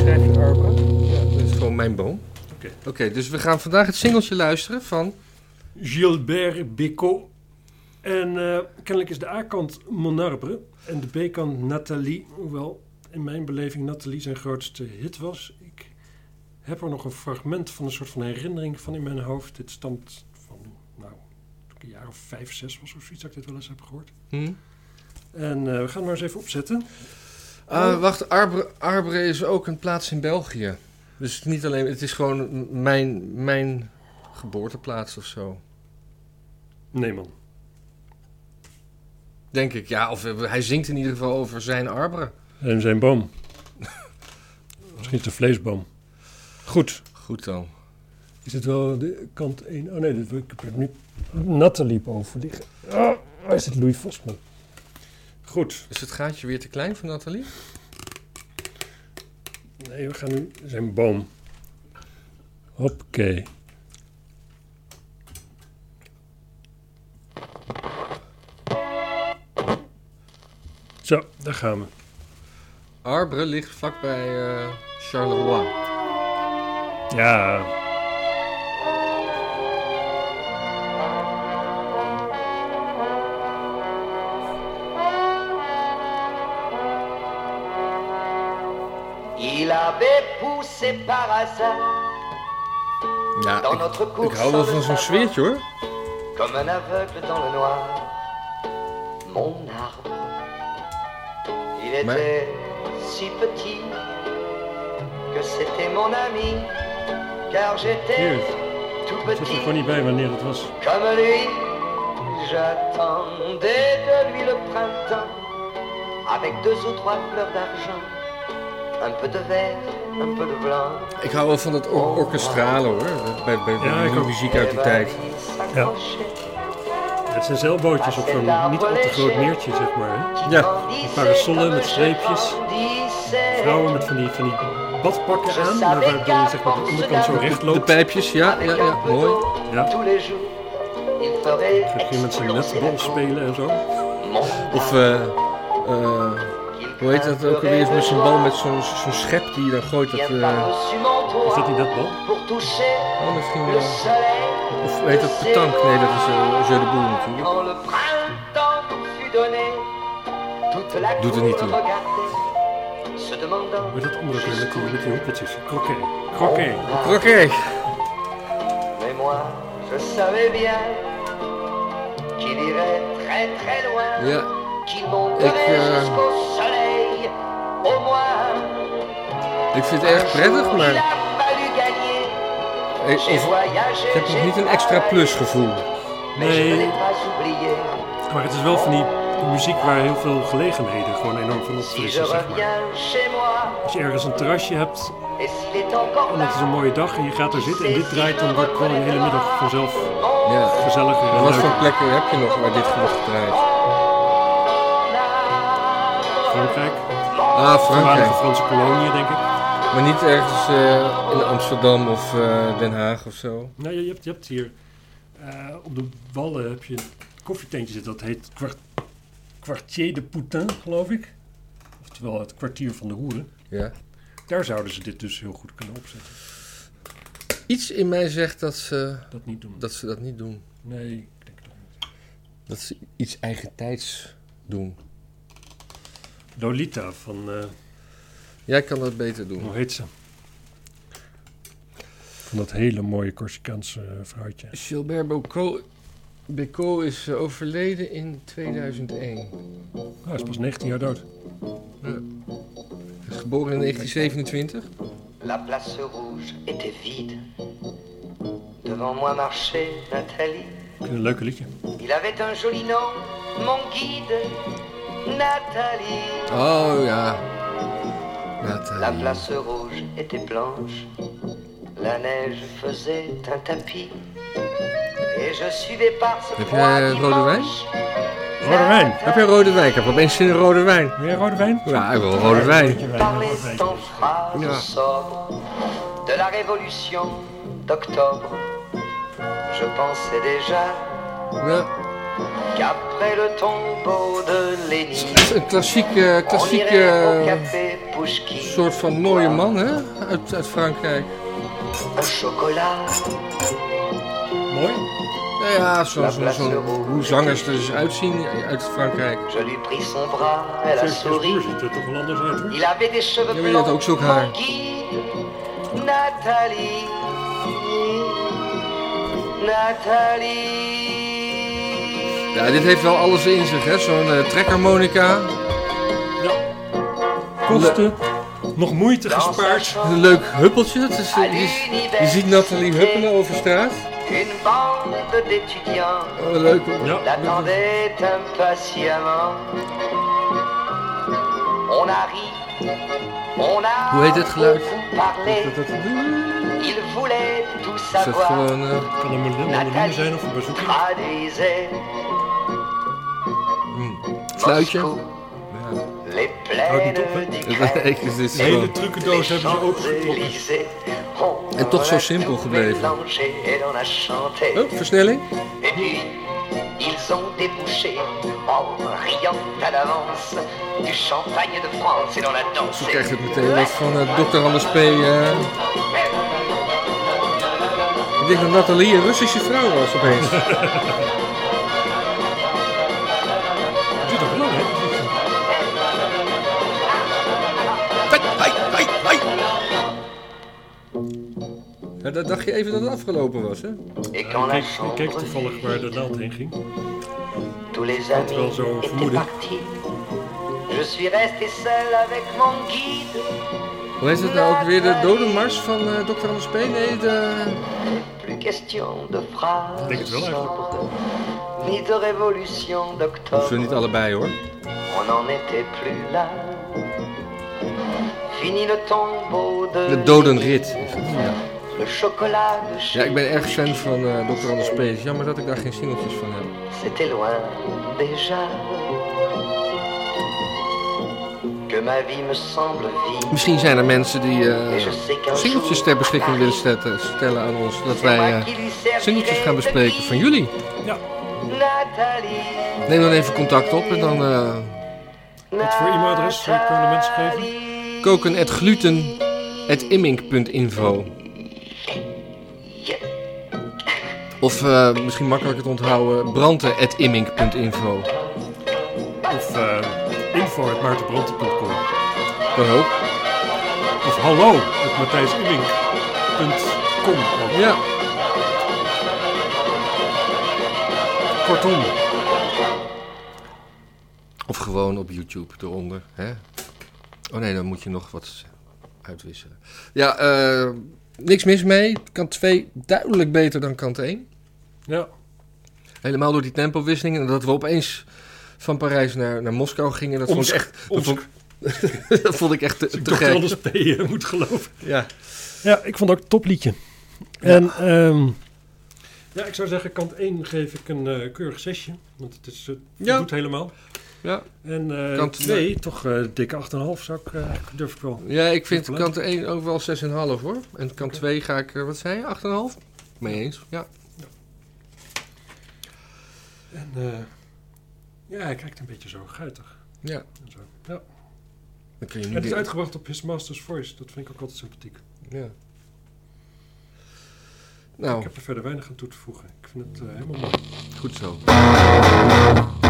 Schrijf je Arba? Ja, dat is gewoon mijn boom. Oké. Oké, dus we gaan vandaag het singeltje luisteren van... Gilbert Bécaud. En eh, kennelijk is de A-kant Monarbre en de B-kant Nathalie. Hoewel in mijn beleving Nathalie zijn grootste hit was. Ik heb er nog een fragment van een soort van herinnering van in mijn hoofd. Dit stamt van, nou, toen ik een jaar of vijf, zes was of zoiets dat ik dit wel eens heb gehoord. Hm? En eh, we gaan maar eens even opzetten. Oh. Ah, wacht, Arbre, Arbre is ook een plaats in België. Dus het is niet alleen, het is gewoon m- mijn, mijn geboorteplaats of zo. Nee man. Denk ik, ja. Of eh, hij zingt in ieder geval over zijn Arbre. En zijn boom. Misschien is de vleesboom. Goed. Goed dan. Is dit wel de kant 1? Oh nee, dit, ik heb er nu Nathalie boven liggen. Ah, waar is het Louis Vosman? Goed. Is het gaatje weer te klein van Nathalie? Nee, we gaan nu zijn boom. Hoppakee. Zo, daar gaan we. Arbre ligt vlakbij eh, Charleroi. Ja. Il avait poussé par hasard Ja, dans ik, notre course. ik hou wel sans van le zo'n savoir, sfeertje hoor. Comme un aveugle dans le noir. Mon arbre. Il Mais- était si petit que c'était mon ami. Car j'étais Hier. tout Ik zat er petit. gewoon niet bij wanneer het was. Comme lui, j'attendais de lui le printemps avec deux ou trois fleurs d'argent, un peu de vert, un peu de blanc. Ik hou wel van dat or- orkestrale hoor. Bij, bij, Ja, ik bij ook. muziek uit die tijd. Ja. Het zijn zeilbootjes op zo'n niet al te groot meertje, zeg maar. Hè? Ja, Met parasolen met streepjes. Vrouwen met van die, van die badpakken aan, maar waar dan zeg maar de onderkant zo recht de loopt. pijpjes, ja, ja, ja, mooi. Ja. Tous les jours, il ferait Misschien met zijn exploser netbal la cour. spelen en zo. Mon Of, eh, eh, hoe heet dat ook alweer? Met zo'n bal met zo'n zo'n schep die je dan gooit. Dat, eh, Is dat die netbal? Pour toucher oh, misschien le wel. soleil. Of heet dat petank? Nee, dat is eh, Jeu de Boel natuurlijk. Quand le printemps fut donné, toute la Doet er cour niet toe. regardait, se demandant Wordt dat andere keer met die, met die hoepeltjes? Kroké. jusqu'où Kroké. on Oké. va. Mais moi, je savais bien qu'il irait très très loin, Ja, qu'il Ik, monterait eh, jusqu'au soleil. Au moins, ik vind het erg prettig, il a maar fallu gagner. ik, J'ai of- voyagé, ik heb nog j'ai niet een extra travaillé, plus gevoel. mais je ne Nee, l'ai pas oublié. maar het is wel van die muziek waar heel veel gelegenheden gewoon enorm van Si je opfrissen, zeg maar. reviens chez moi, Als je ergens een terrasje hebt et s'il est encore en là, het is een mooie dag en je gaat er zitten en dit draait, dan wordt het gewoon de hele middag vanzelf on Ja. gezelliger en Wat voor leuker. plekken heb je nog waar dit wordt gedraaid? Frankrijk, Ah, voormalige Frankrijk. Franse koloniën, denk ik. Maar niet ergens eh, in Amsterdam of eh, Den Haag of zo. Nou, je, je hebt, je hebt hier eh, op de wallen heb je een koffietentje zitten. Dat heet kwart, Quartier de Poutin, geloof ik. Oftewel het kwartier van de hoeren. Ja. Daar zouden ze dit dus heel goed kunnen opzetten. Iets in mij zegt dat ze Dat niet doen. dat, ze dat niet doen. Nee, ik denk dat niet. Dat ze iets eigentijds doen. Lolita van, eh, Jij kan dat beter doen. hoe heet ze? Van dat hele mooie Corsicaanse eh, vrouwtje. Gilbert Bocot- Bécaud is eh, overleden in 2001. Ah, Hij is pas 19 jaar dood. Hij is geboren in 1927. La place rouge était vide. Devant moi marchait Nathalie. Ik vind het Een leuke liedje. Il avait un joli nom, mon guide, Nathalie. Oh ja. eh, La Nathalie. place rouge était blanche. La neige faisait un tapis. Et je suivais par ce Heb froid jij, eh, rode wijn? dimanche. Rode wijn. Heb jij rode wijn? Ik heb opeens zin in rode wijn. Wil jij rode wijn? Ja, ik wil rode wijn. Beetje wijn, Parlait rode wijn. en phrases Ja. sobres de la révolution d'octobre, je pensais déjà Ja, qu'après le tombeau de Lénine, het is een klassiek, eh, on klassiek irait eh, au café Pouchki. soort van mooie man hè? Uit, uit Frankrijk. Un chocolat, Mooi. Ja, ja zo'n zo, zo, hoe zangers er dus uitzien uit Frankrijk. je lui pris son bras, elle a Zeg, souri. Jasper, ziet er toch wel anders uit, hoor. Il avait des cheveux Ja, maar je had ook blancs, zulk haar. Guy, Nathalie, Nathalie. Ja, dit heeft wel alles in zich, hè? Zo'n eh, trekharmonica, Ja. Kosten, nog moeite Dans sa gespaard. een chambre, leuk huppeltje. Het is, eh, je, je ziet Nathalie huppelen over straat. une bande d'étudiants Oh, leuk hoor. Ja. l'attendait impatiemment. On a ri, on a Hoe heet dit geluid? beaucoup parlé, Dat- dat- dat- il voulait tout Is dat savoir. gewoon... eh, Kan een mel- melodie zijn of een bezoek. traduisait fluitje. Moscou, les plaines Houdt niet op, hè? d'Ukraine. Ik- dit is De hele gewoon- trucendoos hebben ze opengetrokken. En toch zo simpel gebleven. Oh, versnelling. Et puis, ils ont débouché en riant à l'avance du champagne de France et dans la danse. Zo krijg je het meteen wat van eh, Dr. Anders P. eh. Ik denk dat Nathalie een Russische vrouw was opeens. Het is toch belangrijk? Ja, Nou, dat dacht je even dat het afgelopen was, hè? Et quand la Ik ik keek chambre toevallig waar de naald heen ging. Tous les had wel amis zo'n étaient vermoeden. partis. Je suis resté seul avec mon guide. Hoe heet het nou ook weer? De dodenmars van eh, Dr. Anders P? Nee, de... Plus question de Denk het phrases wel eigenlijk. sobres, ni de révolution Hoeven d'octobre. we niet allebei, hoor. On n'en était plus là. Fini le tombeau de. De dodenrit. Lénine. is het, Ja. Le chocolat de ja, chez ik ben erg fan van eh, Dr. Anders P. Het is Jammer dat ik daar geen singeltjes van heb. C'était loin déjà. Que ma vie me semble vide. Misschien zijn er mensen die Et je eh sais qu'un singeltjes jour, ter beschikking willen Paris, stellen, stellen aan ons. Dat c'est wij moi eh, qui lui servirai singeltjes gaan de bespreken guide. van jullie. Nathalie. Neem dan even contact op en dan eh Wat voor e-mailadres eh, kunnen de mensen geven? koken at gluten at immink.info. Of eh, misschien makkelijker te onthouden, branden at immink.info. Of eh info.maartenbranten.com Kan ook. Of hallo at matthijsummink.com. Ja. Kortom, Of gewoon op YouTube eronder. Hè? Oh nee, dan moet je nog wat uitwisselen. Ja, eh, niks mis mee. Kant 2 duidelijk beter dan kant 1. ja, Helemaal door die tempowisseling. En dat we opeens van Parijs naar, naar Moskou gingen. Dat vond ik Omsk. echt, dat Omsk. vond, ik- dat vond ik echt te, te Dr. gek. Anders P. eh, moet geloven. Ja. Ja, ik vond het ook een topliedje. En, ehm, ja, ik zou zeggen, kant 1 geef ik een eh, keurig zesje. Want het is, eh, Ja. doet helemaal. Ja. En eh Kant- kant 2, toch eh dikke 8,5 zou ik, eh, durf ik wel. ja, ik vind Chocolade. kant 1 ook wel 6,5 hoor. En kant 2 ga ik, eh, wat zei je, 8,5? Mee eens, ja. En, eh, ja, hij kijkt een beetje zo guitig. ja. En, zo. Ja. Dan kun je en nu het is weer- uitgebracht op His Master's Voice. Dat vind ik ook altijd sympathiek. Ja. Nou, Oh. Ik heb er verder weinig aan toe te voegen. Ik vind het eh, helemaal mooi. goed zo.